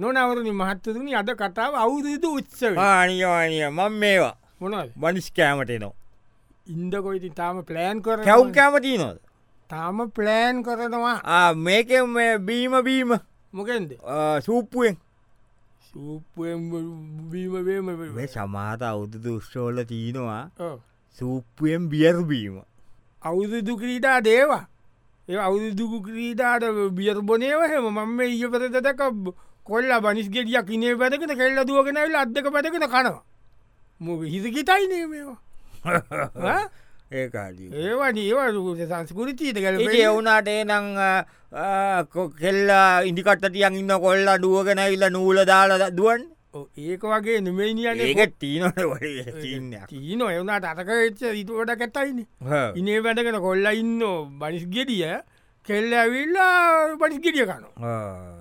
නොනවරණ මහත්තතුනි අද කතාව අවුරුදු උත්සව ආනිවානිය මං මේවා මොනද බනිස් කෑමටනවා ඉන්දකොයිති තාම පලෑන් කර කැව් කෑමති නොද තාම ප්ලෑන් කරනවා මේක බීම බීම මොකෙන්ද සූප්පුුවෙන් සූපීමවේම සමාත අවුදු දුෂ්ටෝල තියනවා සූප්පුුවෙන් බියර්බීම අවුරුදු ක්‍රීඩා දේවා ඒ අවුරුදුකු ක්‍රීඩාට බියර්බොනයවහම මම ඒ පරතක කොල්ල බනිස් ගෙඩියක් ඉනේ පැදකට කෙල්ල දුවගෙනල් අධක පැදකට කනවා මොක හිසකිතයි නේමවා ඒකාදී ඒවා ඒවරුට සංස්කෘතිීත කල ඒ වුනාට එනං කෙල්ලා ඉදිකට්ටටියන් ඉන්න කොල්ලා දුවගෙන ඉල්ල නූල දාලා දුවන් ඒක වගේ නෙමේනිියගේ ඒක තිීනට වඩ තිීන්නයක් ඊන එවුණට අතක වෙච්ච ඉතුවට කැතයින ඉනේ වැටකෙන කොල්ල ඉන්න බනිස් ගෙඩිය කෙල්ල ඇවිල්ලා බනිස් ගෙඩිය කනු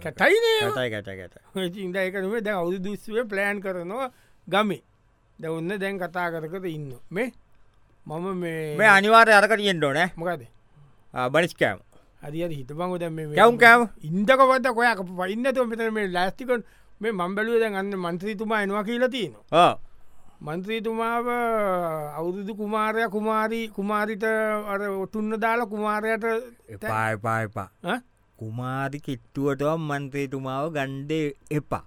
කැතයින කතයි කටකට ඉදකනුවේ දැ අවුදු දුස්වේ ප්ලෑන් කරනවා ගමේ දැවන්න දැන් කතා කරකට ඉන්න මේ මම මේ මේ අනිවාර අරකටියෙන් ඩොනෑ මොකද බනිස් කෑම හරි හිත පංගු දැම කැවුම් කෑම ඉන්දකවත කොයක් පයින්නත මෙතර මේ ලෑස්තිකන් මේ මම්බලුව දැන් අන්න මන්ත්‍රීතුමා එනවා කියලා තියෙනවා ආ. මන්ත්‍රීතුමාව අවුරුදු කුමාරය කුමාරී කුමාරිට අර ඔටුන්න දාලා කුමාරයට තැ- එපා එපා එපා ඈ? කුමාරි කිට්ටුවටව මන්ත්‍රේතුමාව ගණ්ඩේ එපා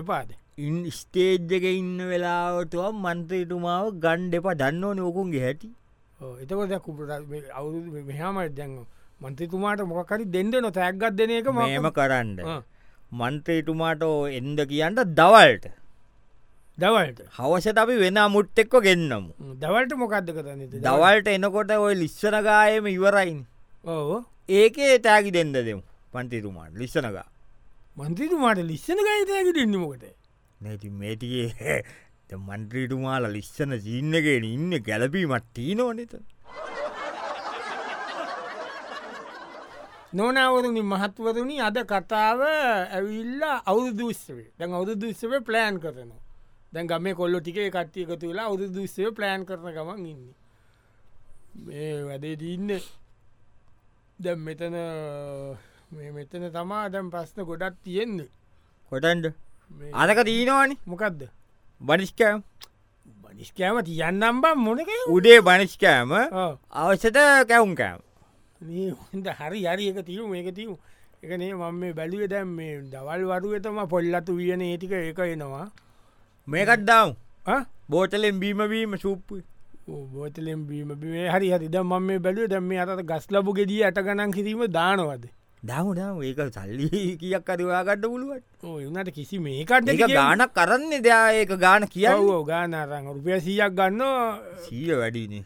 එපාද ඉන් ස්ටේජ් එක ඉන්න වෙලාවටව මන්ත්‍රේතුමාව ගණ්ඩ එපා දන්න ඕන ඕකුන්ගේ හැටි ඔව්, එතකොට දැන් කුප- මේ අවුරුදු මෙහාම දැන් මන්ත්‍රීතුමාට මොකකරි දෙන්න නො තැක්ගත් දෙන එක මම- මේම කරන්න ආ, මන්ත්‍රේතුමාට එන්ද කියන්නට දවල්ට දවල්ට හවසට අපි වෙන මුට් එක්ක ගෙන්න්නමු ම්, දවල්ට මොකක්ද කරන්න දවල්ට එනකොට ඔය ලිස්සනගායම ඉවරයින් ඕ ඒකේ තෑගි දෙන්න දෙමු පන්තිතුමාට ලිස්සනගා මන්ත්‍රීතුමාට ලිස්සන ගයිතයකට ඉන්නමකට නැති මේටියේ මන්ත්‍රීටුමාල ලිස්සන සිීන්නගෙන ඉන්න ගැලපීමට තිීනෝ නත නොනවරුණි මහත්වරුණි අද කතාව ඇවිල්ලා අවුදුස්වේ දැන් අවුදු දුස්සව ප්ලෑන් කරනවා දැන් ගම කොල්ල ටිකේ කට්ටියක තුලා අවුදු දුස්සව ප්ලෑන් කරන ගමන් ඉන්න මේ වැඩේ දීන්න දැම් මෙතන මේ මෙතන තමා දැම් ප්‍රශ්න ගොඩක් තියෙන්නේ කොටන්ඩ මේ අනක තිීනවානේ මොකක්ද බනිස්කෑම් බනිස්කෑම තියන්නම් බම් මොනක උඩේ බනිස්කෑම අවශ්‍යත කැවුම් කෑම් හොඳ හරි හරි එක තිීරු මේක තිීරු එකනේ මම මේ බැලුවේ දැම් මේ දවල් වරුවතම පොල්ලතු වියන ඒටික ඒක එනවා මේකත් දම් ආ? බෝටලෙන් බීමවීම සුප්පු ඕ, බෝතලෙන් බීම බිේ හරි හරි ද ම මේ බැලුව දැම මේ අත ගස් ලබු ගෙඩිය ඇට ගණන් කිරීම දානවද දවුනම් ඒක සල්ලි කියක් අරවාගන්න පුළුවට ඕ එනට කිසි මේකට ඒක ගානක් කරන්න දෙයා ඒක ගාන කියව ගානරං රුපිය සීයක් ගන්න සීල වැඩිනේ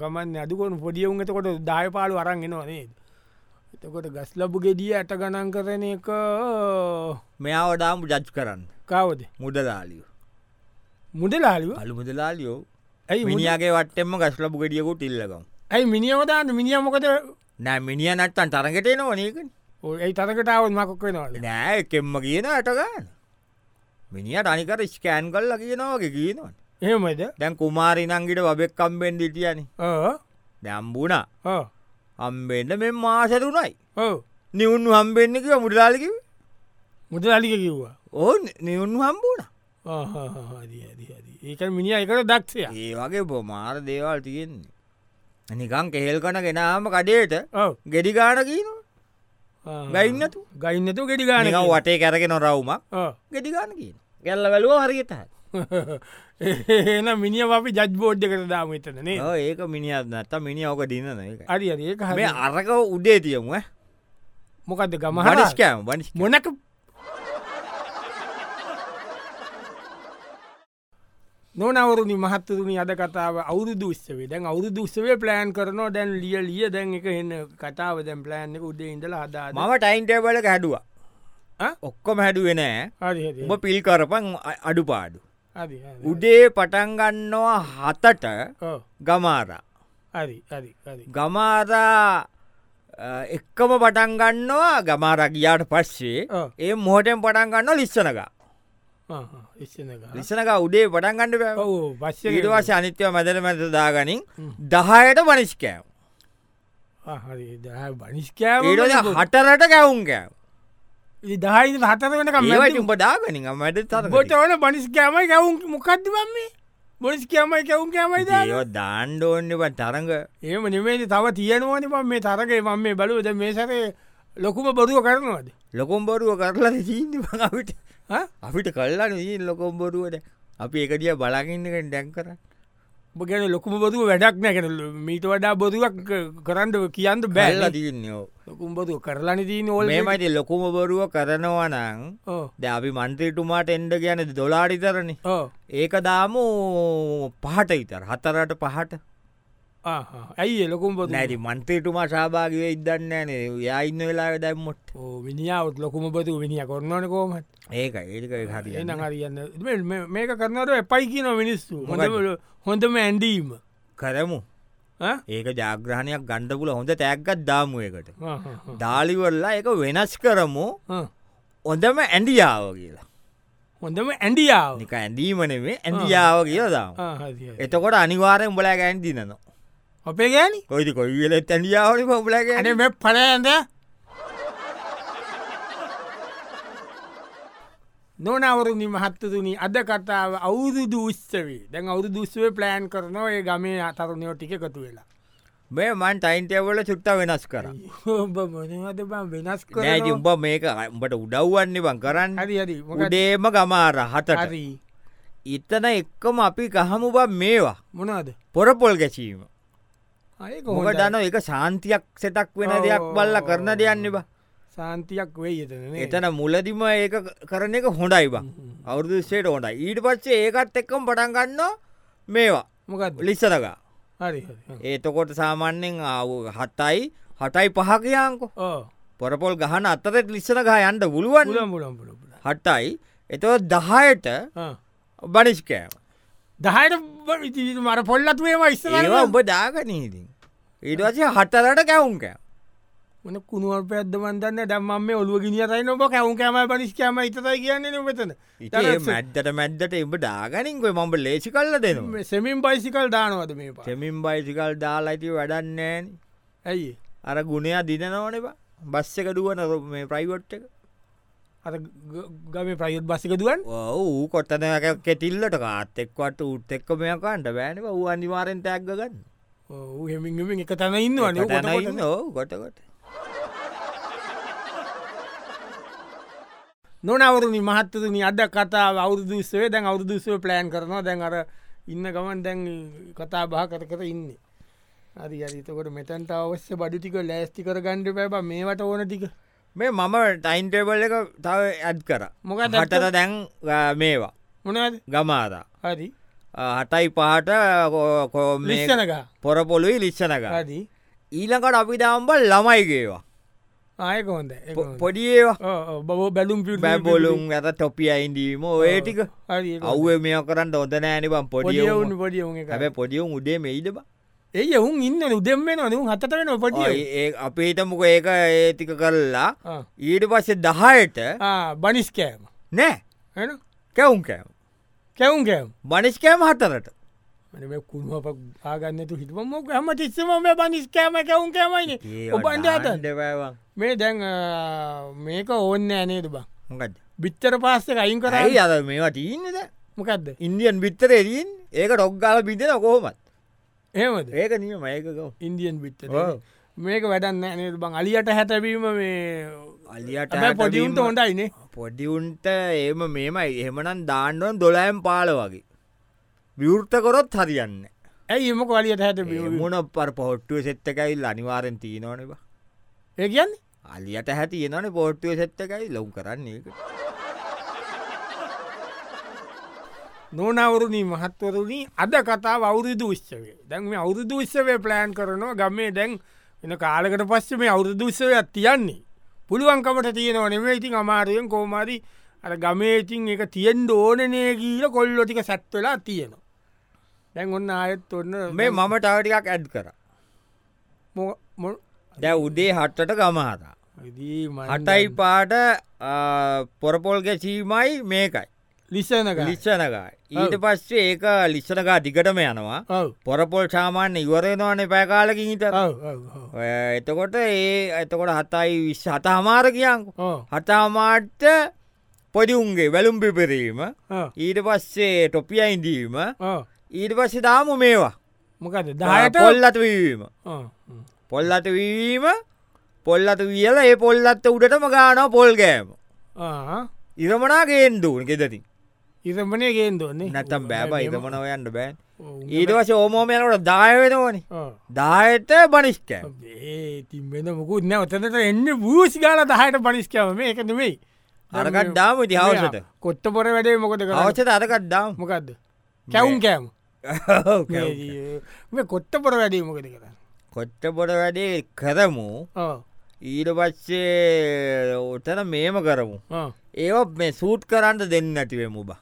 ගමන් අදුකොන් පොඩියවුන් එතකොට දායපාලු අරන් එනවා නේද එතකොට ගස් ලබු ගෙඩිය ඇට ගණන් කරන එක මෙයාවඩාම ජජ් කරන්න කවද මුදලාලියෝ මුදලාලුව අලු මුදලාලියෝ ඇයි මිනි මිනිියගේ වටෙම ගස්ලපු ගෙඩියකුට ඉල්ලකම් ඇයි මිනිියවදාන්න මිනිියමොකද නෑ මිනිිය නත්තන් තරගට නොනක ඔයි තරකටාවත් මකොක් වෙනවාල නෑ එකෙම්ම කියන අටගන්න මිනිියට අනිකර ස්කෑන් කල්ල කියනවාගේ කියනවා එහෙමද දැන් කුමාරිනංගිට වබෙක්කම්බෙන් ිටියන ඕ දැම්බුණ ඕ අම්බෙන්ට මෙ මාසතුනයි ඕ නිවුන් හම්බෙන්න්නක මුරලාලිකිව මුදලාලික කිව්වා ඕ නිවුන් හම්බුණ ඒක මිනි එකට දක්ෂය ඒ වගේ බොමාර දේවල් තියෙන්නේ නිකං කෙහෙල් කන ගෙනාම කඩේට ගෙඩිගාන කියනවා ගයින්නතු ගයින්නතු ගෙඩි ගාන නිකම් වටේ කැරගෙන රවුමක් ගෙඩිගාන කියන ගැල්ල වැලුව හරිගතත් එන මිනිිය අපි ජජ් බෝඩ් එකට දාම එතනේ ඔව් ඒක මිනිියත් නත්ත මිනි ඕක දින්න ඒක අරි අරඒ මේ අරක උඩේ තියමු මොකක්ද ගමහ මනිස්කෑම් වනිස් මොනක නොනවරුණි මහත්තතුනි අද කතාව අවුදු දුස්සවේ දැන් අවුදු දුස්සවේ ප්ලෑන් කරනවා දැන් ලිය ලිය දැන් එක එන්න කතාව දැම් ප්ලෑන් එක උඩේ ඉඳලා හදාද මම ටයින්ටබල හැඩුව ආ? ඔක්කොම හැඩුවෙනෑ හරි හරි උඹ පිල් කරපන් අ- අඩුපාඩු හරි හරි. උඩේ පටන්ගන්නවා හතට ඔව්. ගමාරා හරි හරි හරි ගමාරා එක්කම පටන්ගන්නවා ගමාරා ගියාට පස්සේ ඕ ඒ මෝටෙන් පටන්ගන්න ලිස්සනක ඉස්සනක ලිස්සනක උඩේ පටන්ගන්නඩ ඔව පස්ස ඉටවාශ අනිත්‍යව මැදර මැත දාගනින් දහයට මනිස්කෑම් හරි බනිස්කෑ ඒට හටරට කැවුන්කෑම් දහයි හතර ඒවට වෙනක උඹ දාගනින් මට ගොට ඕන බනිස් කෑමයි ගැවුම් මොකක්දවන්නේ බොනිස් කෑමයි කැවුම් කෑමයිද දාණ්ඩෝන්නට තරඟ ඒම නිමේද තව තියෙනවානි පම් මේ තරගේ මම මේ බලුවද මේ සැරේ ලොකුම බොරුව කරනවාද ලොකොම් බොරුව කරලා සීදි අපිට හ? අපිට කල්ලා ී ලොකොම් බොරුවට අපි එකටිය බලාගන්නකට ඩැන් කර ඔබ ගැන ලොකුම බොරුව වැඩක් නැකැන මීට වඩා බොරුවක් කරන්න කියන්න බැල්ලා බැල්ල තියන්නෝ ලොකුම් බොරුව කරලන දීන ඕල් මේමට ලොකුම බොරුව කරනවා නං ද අපි මන්ත්‍රීටුමාට එන්ඩ කියන දොලාඩිතරණ ඒක දාම පහට ඉතර හතරට පහට ඇයි ලොකුම් බො නැති මන්ත්‍රීටුමා සභාගව ඉදන්න න යා ඉන්න වෙලා දැම්මොත් විනිියාවත් ලොකුම බතු විනිිය කොරන්නන කෝමත් ඒක ඒක හරි එන හරියන්න මේ- මේක කරනට එපයි කියන මිනිස්සු හොඳම හොඳම ඇන්ඩීම කරමු හ? ඒක ජාග්‍රහණයක් ගණ්ඩපුල හොඳ තැක්ගත් දාමුවකට හ්ම් හ්ම් දාලිවල්ලා එක වෙනස් කරමු හ්ම්. හොඳම ඇඩියාව කියලා හොඳම ඇන්ඩියාව නික ඇඳීමනේ ඇඩියාව කියලා දාම ආ, හරි, හරි. එතකොට අනිවාරෙන් බලා ගැන්දිනවා අපේ ගෑනි කොයිති කොයිවෙල ඇඩියාවල පොබලා ගැන ඇන මෙ පලයන්ද නොනවරුණි මහත්තතුනි අද කතාව අවුදු දූෂ්චවේ දැන් අවුදු දුස්වේ ප්ලෑන් කරනවා ඒ ගමේ අතරුණයෝ ටික එකතු වෙලා මේ මන් ටයින්ටවල චුට්ට වෙනස් කර ඔබ මොනවද බං වෙනස් නෑති කරනවා? උඹ මේක උඹට උඩව්වන්නේ බං කරන්න හරි හරි මොකද උඩේම ගමාර හතට හරි ඉත්තන එක්කම අපි ගහමු බ මේවා මොනවද පොරපොල් ගැචීම අය මොක දන එක ශාන්තියක් සෙටක් වෙන දෙයක් බල්ල කරන දෙයන්න බ සාන්තියක් වෙයි එතන එතන මුලදිම ඒක කරන එක හොඳයි බං අවුදුස්සේට හොඳයි ඊට පස්සේ ඒකත් එක්කම් පටන්ගන්න මේවා මොකද ලිස්සරකා හරි හරි. ඒතකොට සාමාන්‍යෙන් ආව හතයි හටයි පහකයාංකෝ ඕ පොරපොල් ගහන අතරෙත් ලිස්සරකා යන්ට පුළුවන් පුලම් පුලම් පුලම් පුලම් හටයි එතව දහයට බනිෂ්කෑම දහයට මර පොල්ලත්වේම ඒවා ඉස්සරවා උඹ දාගනීදී ඊටවසේ හටරට කැවුන්ක මොන කුණුවල් පැද්ද වන්දන්න දම්ම මේ ඔලුව ගිනිියතයි නොබ කැවුම් කෑම පනිස්කෑම ඉතයි කියන්නේ නොබතන ඉතේ මැද්දට මැද්දට එඹ දාගනින්කොයි මඹ ලේසි කල්ල දෙනවා සෙමින් බයිසිකල් දානවද මේ පා සෙමින් බයිසිකල් දාලායිති වැඩන්නෑන ඇයි අර ගුණයා දිනනවනවා බස්ස එක දුවන ර- මේ ප්‍රයිවට් එක අ ගම ප්‍රයුත් බස්සික දුවන් ඌ කොත්තන කෙටිල්ලට කාත් එක්වට උත් එක්ක මෙයකන්ට බෑන ඌ අනිවාරෙන් තැක්ගගන්න හෙමින්ම එක තැන ඉන්නවන ගොටකොට නොනවරුණි මහත්තතුනි අද කතාව අවුදුසේ දැන් අවුදුසේ ප්ලෑන් කරනවා දැන් අර ඉන්න ගමන් දැන් කතා බහ කර කර ඉන්න අරි අරිතකොට මෙතැන්ට අවශ්‍ය බඩිටික ලෑස්ති කර ගණ්ඩ පැබ මේවට ඕන ටික මේ මම ටයින්ටේබල් එක තව ඇත් කර මොකක්ද ඇඩ් හටට දැන් අ, මේවා මොනද ගමාරා හරි හටයි පහට කෝ- කෝ මේ ලිස්සනක පොරපොලුයි ලිච්චනක හරි ඊලකට අපි දාම්බල් ළමයිගේවා ආයක හොඳ ඒක හොඳයි. පොඩි ඒවා ඔව්, ඔව්, බො- බැලුම් පිට බැබොලුම් ඇත තොපිය අයින්දීම ඒටික හරි අව්ව මේ කරන්න හොඳ නෑනිබම් පොඩි පොඩියවුන් පොඩියවුන් එක හැබ පොඩියුම් උඩේ මෙයිදබ එය ඔවුන් ඉන්න උදෙම් වෙන ඔුන් හතට වෙන පොටිය ඒ අපේ හිතමුක ඒක ඒතික කරලා ඊට පස්සේ දහයට බනිස්කෑම නෑ එන කැවුම් කෑම් කැවුම් කෑම් බනිස්කෑම හතරට මනම කුණුව ආගන්නතු හිටම මොක හම තිස්සම මේ බනිස්කෑම කැවුන් කෑමයින ඔබන්ඩ අත ඩවන් මේ දැන් අ, මේක ඕන්න ඇනේද බා මොකද බිත්තර පාස්සක අයින් කරයි කරයි අද මේවා තිීන්නද මොකක්ද ඉන්දියන් බිත්තරේදීන් ඒක රොක්්ගාල බිදෙන කොහොමත් ඒමද ඒක නිය මයකකෝ ඉන්දියන් බිත්තර ඔව්. මේක වැඩන්න ඇනේ බං අලියට හැතැබීම මේ අලියට පොඩියුන්ට හොඳයිනේ පොඩිවුන්ට ඒම මේමයි එහෙමනම් දාණ්ඩුවන් දොලෑම් පාල වගේ විවෘත කොරොත් හරියන්න ඇයි එම කොලියට හැතැබීම මුණ පර පොට්ටුව සෙත්තකයිල් අනිවාරෙන් තියනවනවා ඒ කියන්නේ අලියට හැති එනන පොට්ටුව සෙත්තකයි ලොම් කරන්නේ ඒක. නොනවරුණී මහත්වරුණී අද කතා අවුරුදු විශ්වේ දැන් මේ අවුරුදු විශ්වේ ප්ලෑන් කරනවා ගමේ දැන් එන කාලකට පස්ස මේ අවුරුදු විශ්වයක් තියන්නේ පුළුවන්කමට තියෙනවා නෙවේ ඉතින් අමාරුවෙන් කෝමාරි අර ගමේතින් එක තියෙන් ඕනනේ කියීල කොල්ලොටික සැත්වලා තියෙනවා දැන් ඔන්න ආයත් ඔන්න මේ මම ටවටිකක් ඇඩ් කර මො- මො- දැ උදේ හට්ටට ගමහතා ඉදී මන්ද- හටයි පාට පොරපොල්ගැසීමයි මේකයි ලිස්සනක ලිස්සනකා ඊට පස්සේ ඒක ලිස්සනකා දිගටම යනවා ඔව පොරපොල් සාමාන්‍ය ඉවරෙනවානේ පැකාලකින් හිත එතකොට ඒ එතකොට හතයි විශ් හත හමාර කියංකු ඕ හතාමාට්ට පොඩිඋන්ගේ වැලුම් පිපිරීම ඊට පස්සේ ටොපිය ඉඳීම ඊට පස්සේ දාම මේවා මොකද දායට පොල්ලත වීම පොල්ලත වීම පොල්ලත වියල ඒ පොල්ලත්ත උඩටම ගාන පොල්ගෑම ඉරමනා ගේන්දුවන ගෙදති ඉරමනය ගෙන් දොන්නේ නැතම් බෑබ ඉරමන ඔයන්න බෑන් oh, ඊටවස ඕමෝමයනට දායවෙනවනි Ah, දායට බනිෂ්කෑ ඒ තින්බෙන මුකුත් නෑ ඔතනට එන්න බූෂ් ගාල දහයට පනිස්කව මේ එක නෙවෙයි අරකත් දාම ah, ඉතිහාවසට කොත්ත පොර වැඩේ මොකද කරන්නේ? අවචත අරකත් දාම් මොකක්ද කැවුම් කෑම මේ කොත්ත පොර වැඩේ මොකද කරන්න කොච්ච පොට වැඩේ කරමු ඕ ඊට පච්චේ ඔටන මේම කරමු ඕ ඒව මේ සූට් කරන්ට දෙන්න ඇතිවමු බා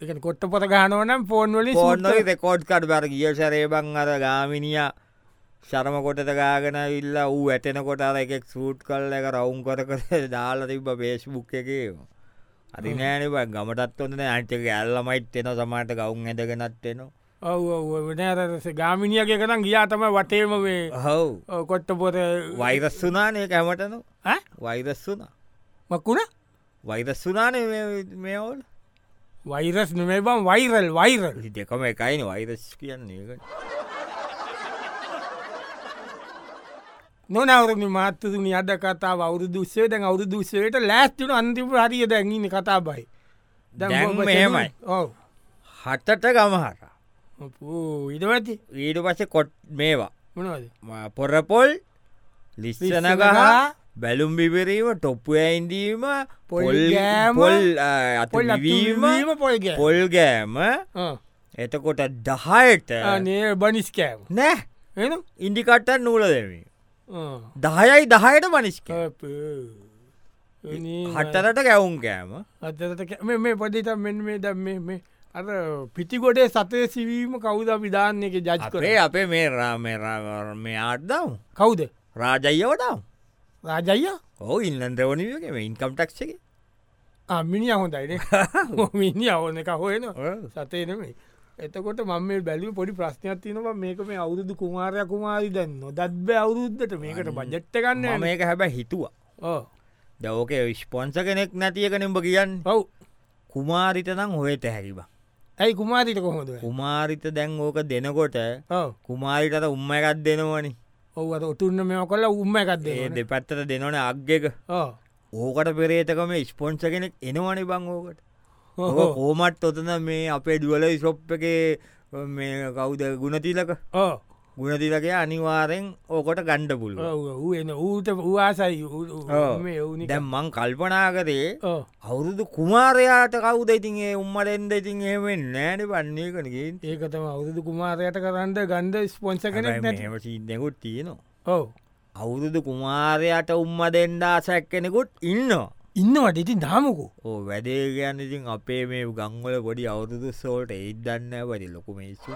එක කොත්ත පොත ගානවනම් ෆෝන්වලින් පෝර්නොයි රෙකෝඩ් කඩ බර ගිය සරේබං අර ගාමිනිිය ශරම කොටට ගාගෙන ඉල්ල වූ ඇටෙනකොට අර එකෙක් සූට් කල්ල එක රවුම් කර කර දාලා තිබ බේස්බුක් එකේම අරි නෑනබ ගමටත් ඔන්න අන්ටක ඇල්ලමයිත් එෙන සමට ගවුන් ඇදගෙනත් එනවා Ah, ඔව නෑරස ගාමිනිියගේ කරම් ගියාතම වටේම වේ හව් ඔව් කොත්ත පොත වෛරස් වනානය කැමටනු ඈ? වෛරස් වුනා මක්කුණ වෛරස් වනානය මේවල් වෛරස් නෙමේ බම් වෛරල් වෛරල් දෙකම එකයින වෛරස් කියන්නේ ඒකට. නොනවරම මාතතුනි අද කතාව අවුරුදුස්සේ දැන් අවුරුදුස්සේට ලෑස්තින අන්තිම හරිය දැන්ගන්න කතා බයි දැන් මෙහෙමයි. ඔව හටට ගමහර ඉඩවති ඊට පස කොට් මේවා මොනවද ම පොරපොල් ලිස්සනගහ ලිස්සනගහ, බැලුම් බිවරීම ටොප්පු ඇයින්දීම පොල් ගෑම, පොල් අතවීම අතුවීම පොල්ග පොල් ගෑම එතකොට දහයට නේ බනිස්කෑම් නෑ එන ඉන්ඩිකට්ටන් නූල දෙමී දහයයි දහයට මනිස්ක හටරට ගැවුම් ගෑම අතට මේ පොඩිට මෙන් මේ දැම් මේ අර පිටිකොටේ සතය සිවීම කවුද විධාන්නක ජජ් කරේ අපේ අපේ මේ රාමේරාවර මේ ආර්දම් කවුද රාජයවටම් රාජයියා ඕ ඉල්ලන්දවනිකම ඉන්කම්ටක්ෂක අමිනි අහොඳයින මිනි අවන එක හොයන සතයනමේ එතකොට මම මේ බැලි පොඩි ප්‍රශ්නයක් තියනව මේක මේ අවුරුදු කුමාරය කුමාරි දන්න දත්බ අවුරුද්ධට මේකට බජට්ට ගන්න මේක හැබැ හිතුවා දවෝක විශ්පොන්ස කෙනෙක් නැතියක නෙම්ඹ කියන්න ඔව් කුමාරිත නම් හොයට හැකිබ ඇයි කුමාරිට කොහොද කුමාරිත දැන් ඕක දෙනකොට ඔව කුමාරිතට උම්ම එකත් දෙනවනි ඔව අද උතුන්න මෙම කොල්ල උම්ම එකක්ද ඒ දෙපැත්තට දෙනවන අක්්‍යක ඕ ඕකට පෙරේතකම ස්පොන්ස කෙනෙක් එනවනි බං ඕකට හෝමට් ඔතන මේ අපේ දුවල ශොප් එක මේ කවුද ගුණතිලක ඕ ගුණතිලකය අනිවාරෙන් ඕකොට ගණ්ඩ පුල්ල ඌ එන ඌට වාසයි මේ ඔවුනි දැම් මං කල්පනා කරේ ඕ අවුරුදු කුමාරයාට කවුද ඉතින් ඒ උම්මට එන්ද ඉතින් ඒමෙන් නෑන පන්නේ කනගින් ඒකතම අවුරුදු කුමාරයට කරන්න ගන්ධ ස්පොන්ස කෙනෙක් නැ හැම සිීදකුත් තියෙනවා ඔව අවුරුදු කුමාරයට උම්ම දෙන්ඩා සැක්කෙනෙකුත් ඉන්නවා ඉන්නවා ඉතින් දාමකෝ ඕ වැඩේ ගැන්න ඉතින් අපේ මේ ගංවල පොඩි අවුරුදු සෝල්ට ඒත් දන්න වැඩි ලොකුමේසු